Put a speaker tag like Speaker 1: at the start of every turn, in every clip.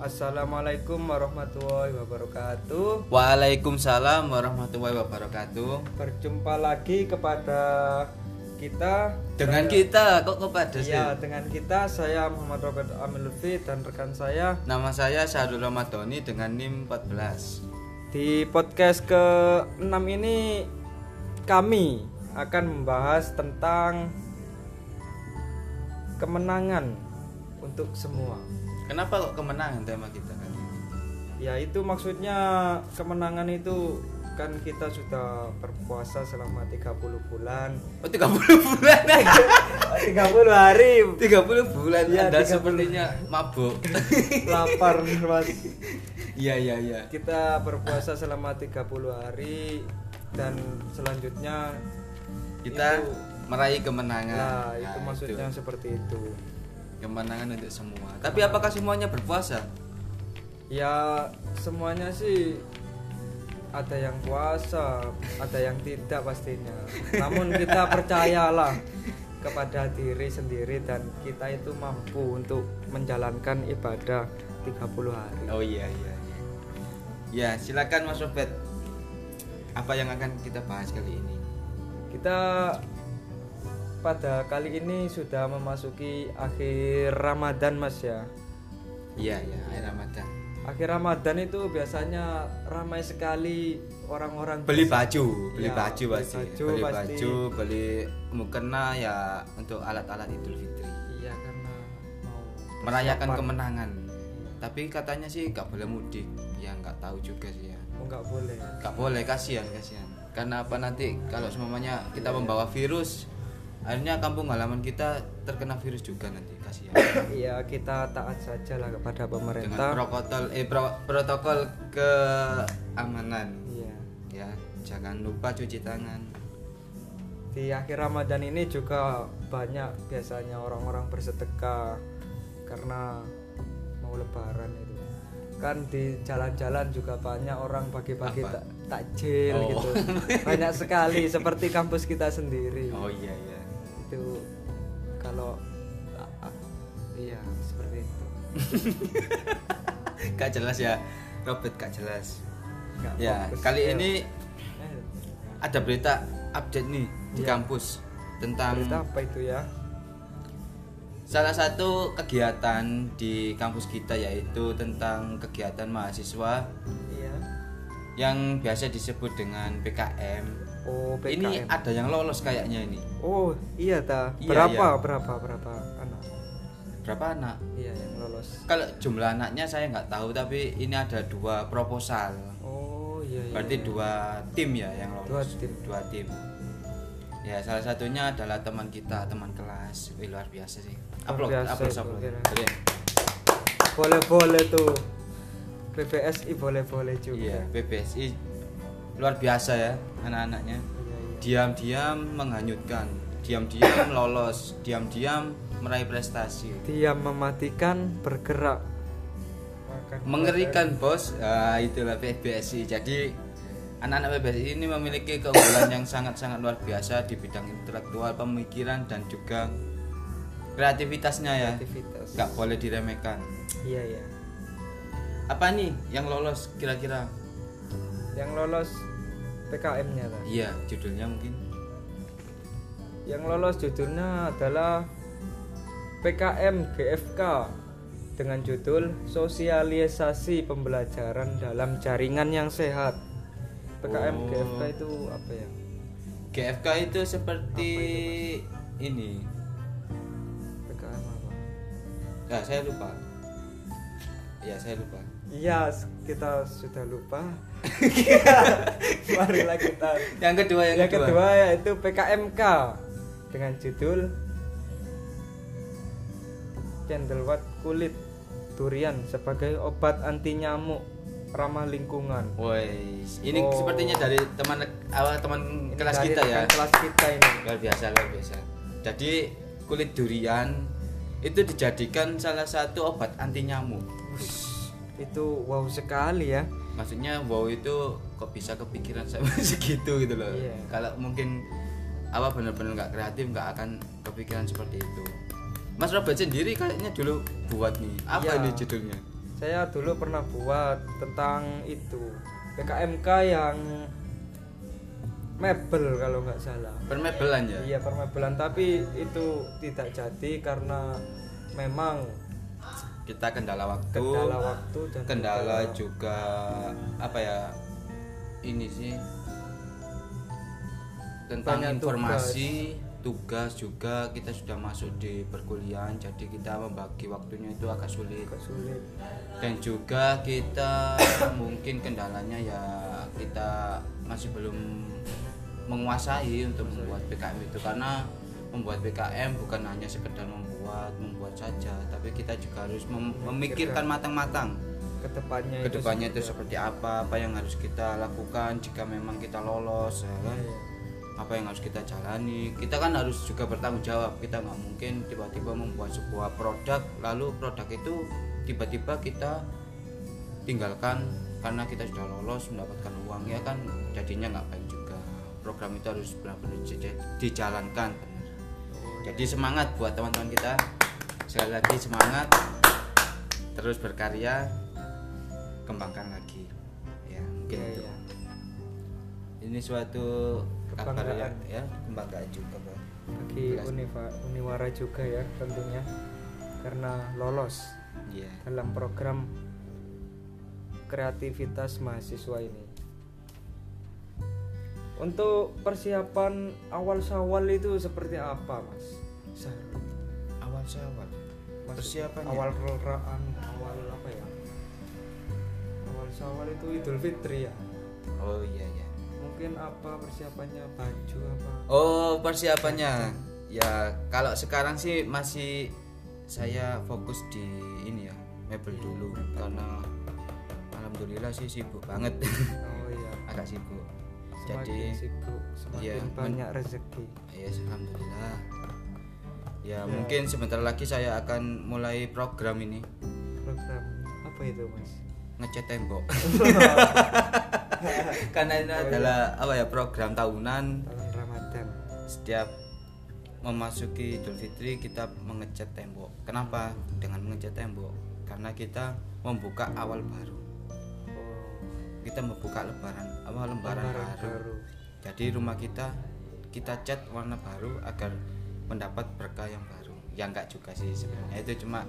Speaker 1: Assalamualaikum warahmatullahi wabarakatuh.
Speaker 2: Waalaikumsalam warahmatullahi wabarakatuh.
Speaker 1: Berjumpa lagi kepada kita
Speaker 2: Dengan kita kok kepada sih?
Speaker 1: Ya, dengan kita saya Muhammad Robert Amil Lutfi dan rekan saya
Speaker 2: Nama saya Syahrul Ramadhani dengan NIM 14.
Speaker 1: di podcast ke-6 ini kami akan membahas tentang kemenangan untuk semua.
Speaker 2: Kenapa kok kemenangan tema kita kan?
Speaker 1: Ya, itu maksudnya kemenangan itu kan kita sudah berpuasa selama 30 bulan.
Speaker 2: Oh 30 bulan
Speaker 1: 30 hari
Speaker 2: 30 bulan
Speaker 1: Iya,
Speaker 2: Anda
Speaker 1: 30.
Speaker 2: sepertinya mabuk.
Speaker 1: lapar mas
Speaker 2: Iya iya iya.
Speaker 1: kita berpuasa selama 30 hari dan selanjutnya
Speaker 2: Kita
Speaker 1: Itu.
Speaker 2: meraih kemenangan.
Speaker 1: nah
Speaker 2: Nah,
Speaker 1: itu maksudnya Iya. seperti itu
Speaker 2: kemenangan untuk semua. Tapi apakah semuanya berpuasa?
Speaker 1: ya semuanya sih ada yang puasa ada yang tidak pastinya namun kita percayalah kepada diri sendiri dan kita itu mampu untuk menjalankan ibadah 30 hari
Speaker 2: Oh iya iya. Ya, silakan Mas Robert. Apa yang akan kita bahas kali ini?
Speaker 1: Kita pada kali ini sudah memasuki akhir Ramadan Mas ya.
Speaker 2: Iya iya, air Ramadan.
Speaker 1: Akhir Ramadan itu biasanya ramai sekali orang-orang
Speaker 2: beli baju Iya, beli
Speaker 1: Ya,
Speaker 2: baju
Speaker 1: beli
Speaker 2: pasti
Speaker 1: baju
Speaker 2: beli
Speaker 1: pasti.
Speaker 2: baju beli mukena ya untuk alat-alat Idul Fitri
Speaker 1: Iya karena mau
Speaker 2: merayakan
Speaker 1: persiapan.
Speaker 2: kemenangan tapi katanya sih nggak boleh mudik ya nggak tahu juga sih ya
Speaker 1: Oh nggak boleh.
Speaker 2: nggak boleh kasihan kasihan karena apa nanti kalau semuanya kita membawa virus akhirnya kampung halaman kita terkena virus juga nanti kasihan
Speaker 1: Iya kita taat sajalah kepada
Speaker 2: dengan
Speaker 1: pemerintah.
Speaker 2: protokol eh pro- protokol keamanan
Speaker 1: Iya.
Speaker 2: ya jangan lupa cuci tangan
Speaker 1: Di akhir Ramadan ini juga banyak biasanya orang-orang bersedekah karena mau lebaran itu. Kan di jalan-jalan juga banyak orang bagi-bagi
Speaker 2: Apa?
Speaker 1: tak- takjil
Speaker 2: Oh.
Speaker 1: gitu. Banyak sekali seperti kampus kita sendiri.
Speaker 2: oh iya iya
Speaker 1: Itu kalau a- a- iya seperti itu.
Speaker 2: gak jelas ya Robert gak jelas
Speaker 1: Nggak
Speaker 2: ya
Speaker 1: fokus. Iya.
Speaker 2: kali
Speaker 1: Ayo.
Speaker 2: ini
Speaker 1: Eh,
Speaker 2: ada berita update nih di
Speaker 1: Iya.
Speaker 2: kampus tentang
Speaker 1: berita apa itu ya?
Speaker 2: salah satu kegiatan di kampus kita yaitu tentang kegiatan mahasiswa
Speaker 1: Iya.
Speaker 2: yang biasa disebut dengan PKM.
Speaker 1: Oh, PKM.
Speaker 2: Ini ada yang lolos kayaknya ini.
Speaker 1: Oh, iya ta.
Speaker 2: Iya,
Speaker 1: Berapa
Speaker 2: iya.
Speaker 1: berapa berapa anak?
Speaker 2: Berapa anak?
Speaker 1: Iya, yang lolos.
Speaker 2: Kalau jumlah anaknya saya nggak tahu tapi ini ada dua proposal.
Speaker 1: Oh iya. iya,
Speaker 2: Berarti
Speaker 1: iya.
Speaker 2: dua tim ya yang lolos.
Speaker 1: Dua tim.
Speaker 2: Dua tim. Ya salah satunya adalah teman kita teman kelas. Wih, luar biasa sih.
Speaker 1: Luar
Speaker 2: Upload,
Speaker 1: biasa
Speaker 2: upload, Iya,
Speaker 1: itu,
Speaker 2: upload.
Speaker 1: kira.
Speaker 2: Keren.
Speaker 1: Boleh boleh tuh. PPSI boleh boleh juga.
Speaker 2: Iya, PBSI luar biasa ya anak-anaknya.
Speaker 1: Iya, iya.
Speaker 2: Diam-diam menghanyutkan, diam-diam lolos, diam-diam meraih prestasi.
Speaker 1: Diam mematikan bergerak. Makan
Speaker 2: Mengerikan bos. Ah, itulah PBSI. Jadi anak-anak PBSI ini memiliki keunggulan yang sangat-sangat luar biasa di bidang intelektual, pemikiran dan juga kreativitasnya ya.
Speaker 1: aktivitas.
Speaker 2: Nggak boleh diremehkan.
Speaker 1: Iya iya.
Speaker 2: Apa nih yang lolos kira-kira?
Speaker 1: Yang lolos PKM-nya ta.
Speaker 2: Iya, judulnya mungkin.
Speaker 1: Yang lolos judulnya adalah PKM GFK dengan judul Sosialisasi Pembelajaran dalam Jaringan yang Sehat. PKM
Speaker 2: Oh.
Speaker 1: GFK itu apa ya?
Speaker 2: GFK itu seperti ini.
Speaker 1: PKM apa?
Speaker 2: Nah, saya lupa. Ya, saya lupa.
Speaker 1: Iya, s- kita sudah lupa. Marilah kita.
Speaker 2: Yang kedua, yang,
Speaker 1: Yang
Speaker 2: kedua.
Speaker 1: kedua yaitu PKMK dengan judul Candlewat kulit durian sebagai obat anti nyamuk ramah lingkungan.
Speaker 2: Woi, ini
Speaker 1: Oh.
Speaker 2: sepertinya dari teman awal teman
Speaker 1: Ini
Speaker 2: kelas
Speaker 1: dari
Speaker 2: kita ya.
Speaker 1: rekan Kelas kita ini.
Speaker 2: Luar biasa, luar biasa. Jadi kulit durian itu dijadikan salah satu obat anti nyamuk.
Speaker 1: Itu wow sekali ya.
Speaker 2: Maksudnya wow itu kok bisa kepikiran saya segitu gitu loh.
Speaker 1: Iya.
Speaker 2: Kalau mungkin awal bener-bener nggak kreatif nggak akan kepikiran seperti itu. Mas Robert sendiri kayaknya dulu buat nih. Apa
Speaker 1: Iya.
Speaker 2: ini judulnya?
Speaker 1: saya dulu pernah buat tentang itu PKMK yang mebel kalau nggak salah
Speaker 2: Permebelan ya.
Speaker 1: Iya permebelan tapi itu tidak jadi karena memang
Speaker 2: Kita kendala waktu.
Speaker 1: kendala waktu dan
Speaker 2: kendala juga apa ya ini sih tentang
Speaker 1: Banyak
Speaker 2: informasi tugas. juga kita sudah masuk di perkuliahan jadi kita membagi waktunya itu agak sulit
Speaker 1: juga sulit.
Speaker 2: dan juga kita mungkin kendalanya ya kita masih belum menguasai untuk membuat PKM itu karena membuat PKM bukan hanya sekedar membuat membuat saja tapi kita juga harus mem- memikirkan matang-matang
Speaker 1: Kedepannya itu
Speaker 2: kedepannya Ya, itu seperti apa apa yang harus kita lakukan jika memang kita lolos ya kan?
Speaker 1: Iya.
Speaker 2: apa yang harus kita jalani kita kan harus juga bertanggung jawab kita nggak mungkin tiba-tiba membuat sebuah produk lalu produk itu tiba-tiba kita tinggalkan karena kita sudah lolos mendapatkan uang ya kan jadinya nggak baik juga program itu harus benar-benar dij- dijalankan benar jadi semangat buat teman-teman kita sekali lagi semangat terus berkarya kembangkan lagi ya mungkin
Speaker 1: Iya,
Speaker 2: itu.
Speaker 1: iya.
Speaker 2: ini suatu kabar
Speaker 1: Kebanggaan.
Speaker 2: ya, ya kebanggaan juga Bang.
Speaker 1: bagi
Speaker 2: Kelas.
Speaker 1: Univa, Uniwara juga ya tentunya karena lolos
Speaker 2: Iya.
Speaker 1: dalam program kreativitas mahasiswa ini. Untuk persiapan awal sawal itu seperti apa, Mas? Sar-
Speaker 2: awal syawal
Speaker 1: Maksud-
Speaker 2: persiapan ya?
Speaker 1: awal peroraan awal apa ya awal sawal itu idul fitri ya
Speaker 2: oh iya iya
Speaker 1: mungkin apa persiapannya baju apa
Speaker 2: oh persiapannya ya kalau sekarang sih masih saya fokus di ini ya mebel dulu karena alhamdulillah sih sibuk banget
Speaker 1: oh iya
Speaker 2: agak sibuk
Speaker 1: semakin
Speaker 2: jadi
Speaker 1: sibuk semakin
Speaker 2: iya, men-
Speaker 1: banyak rezeki
Speaker 2: ya alhamdulillah ya mungkin sebentar lagi saya akan mulai program ini
Speaker 1: program apa itu mas
Speaker 2: ngecat tembok karena
Speaker 1: Oh,
Speaker 2: ini
Speaker 1: iya.
Speaker 2: adalah apa ya program tahunan
Speaker 1: tahun ramadan
Speaker 2: setiap memasuki Idul Fitri kita mengecat tembok kenapa dengan mengecat tembok karena kita membuka awal baru
Speaker 1: oh
Speaker 2: kita membuka lebaran awal lembaran
Speaker 1: lebaran
Speaker 2: baru
Speaker 1: baru
Speaker 2: Jadi rumah kita kita cat warna baru agar mendapat berkah yang baru. Ya enggak juga sih sebenarnya itu cuma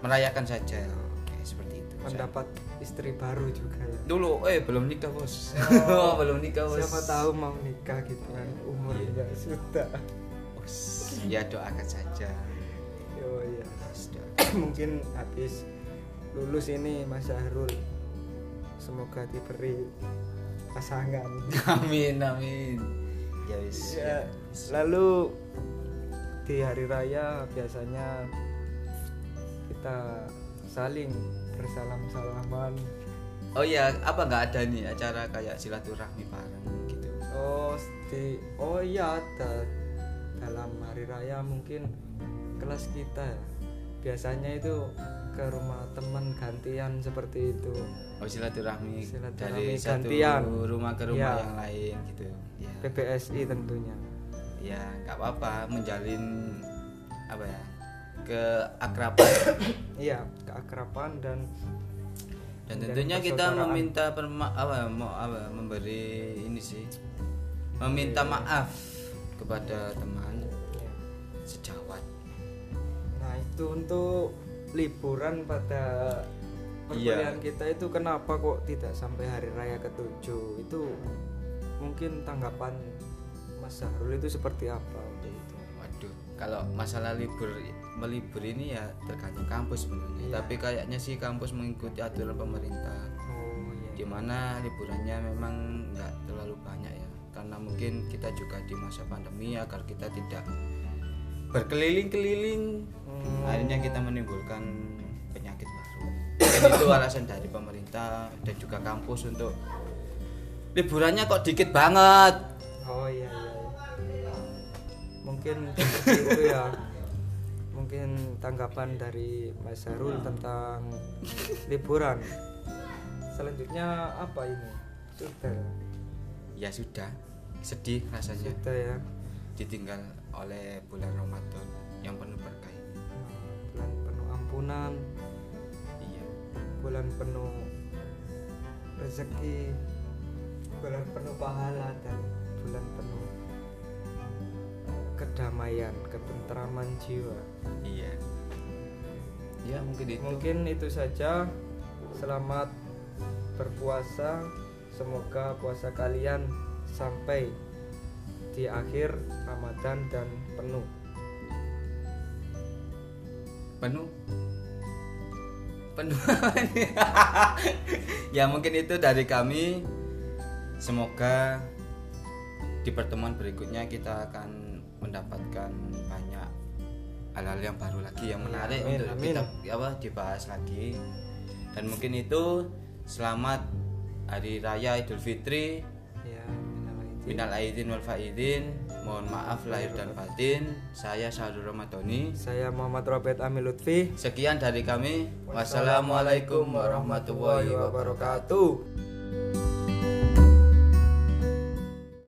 Speaker 2: merayakan saja. Kayak seperti itu.
Speaker 1: mendapat istri baru juga ya
Speaker 2: Dulu eh belum nikah, Bos.
Speaker 1: Oh.
Speaker 2: belum nikah, Bos.
Speaker 1: siapa tahu mau nikah gitu kan umur
Speaker 2: Iya.
Speaker 1: juga sudah
Speaker 2: Bos. Ya doakan saja.
Speaker 1: oh iya
Speaker 2: Bos, doakan.
Speaker 1: mungkin habis lulus ini Mas Zahrul semoga diberi pasangan
Speaker 2: Amin, amin. Ya wis.
Speaker 1: ya. lalu di hari raya biasanya kita saling bersalam salaman
Speaker 2: Oh iya, apa nggak ada nih acara kayak silaturahmi bareng gitu.
Speaker 1: oh di oh iya ada dalam hari raya mungkin kelas kita ya. biasanya itu ke rumah teman gantian seperti itu
Speaker 2: Oh silaturahmi,
Speaker 1: Silaturahmi
Speaker 2: dari satu
Speaker 1: gantian.
Speaker 2: rumah ke rumah
Speaker 1: Ya.
Speaker 2: yang lain gitu. Ya.
Speaker 1: PPSI tentunya
Speaker 2: ya nggak apa-apa menjalin apa ya keakraban
Speaker 1: Iya, keakraban dan
Speaker 2: dan
Speaker 1: Dan
Speaker 2: tentunya kita
Speaker 1: persaudaraan.
Speaker 2: meminta perma apa ya, mau apa memberi ini sih meminta maaf kepada teman
Speaker 1: Iya.
Speaker 2: sejawat
Speaker 1: nah itu untuk liburan pada perkuliahan
Speaker 2: Iya.
Speaker 1: kita itu kenapa kok tidak sampai hari raya ketujuh itu mungkin tanggapan Mas Zahrul itu seperti apa untuk itu?
Speaker 2: Gitu, waduh kalau masalah libur melibur ini ya tergantung kampus sebenarnya tapi kayaknya sih kampus mengikuti aturan pemerintah
Speaker 1: Oh iya.
Speaker 2: di mana liburannya memang nggak terlalu banyak ya karena mungkin kita juga di masa pandemi agar kita tidak berkeliling-keliling hmm, akhirnya kita menimbulkan penyakit baru dan itu alasan dari pemerintah dan juga kampus untuk liburannya kok dikit banget
Speaker 1: Oh iya iya. Mungkin seperti itu ya. Mungkin tanggapan dari Mas Harul tentang liburan. Selanjutnya apa ini? Sudah.
Speaker 2: ya sudah sedih rasanya
Speaker 1: Sudah ya.
Speaker 2: ditinggal oleh bulan Ramadan yang penuh berkah ini
Speaker 1: Bulan penuh ampunan.
Speaker 2: iya
Speaker 1: penuh rezeki bulan penuh pahala dan bulan penuh kedamaian ketentraman jiwa
Speaker 2: iya ya mungkin itu
Speaker 1: mungkin itu saja selamat berpuasa semoga puasa kalian sampai di akhir Ramadan dan penuh
Speaker 2: penuh penuh ya mungkin itu dari kami semoga di pertemuan berikutnya kita akan mendapatkan banyak hal-hal yang baru lagi yang menarik
Speaker 1: Amin,
Speaker 2: untuk
Speaker 1: amin.
Speaker 2: kita ya, apa dibahas lagi dan mungkin itu selamat hari raya Idul Fitri
Speaker 1: ya minal aidin.
Speaker 2: minal aidin wal faidin mohon maaf lahir dan batin saya Syahrul Ramadhani
Speaker 1: saya Muhammad Robert Amil Lutfi
Speaker 2: Sekian dari kami. Wassalamualaikum warahmatullahi wabarakatuh.
Speaker 1: wabarakatuh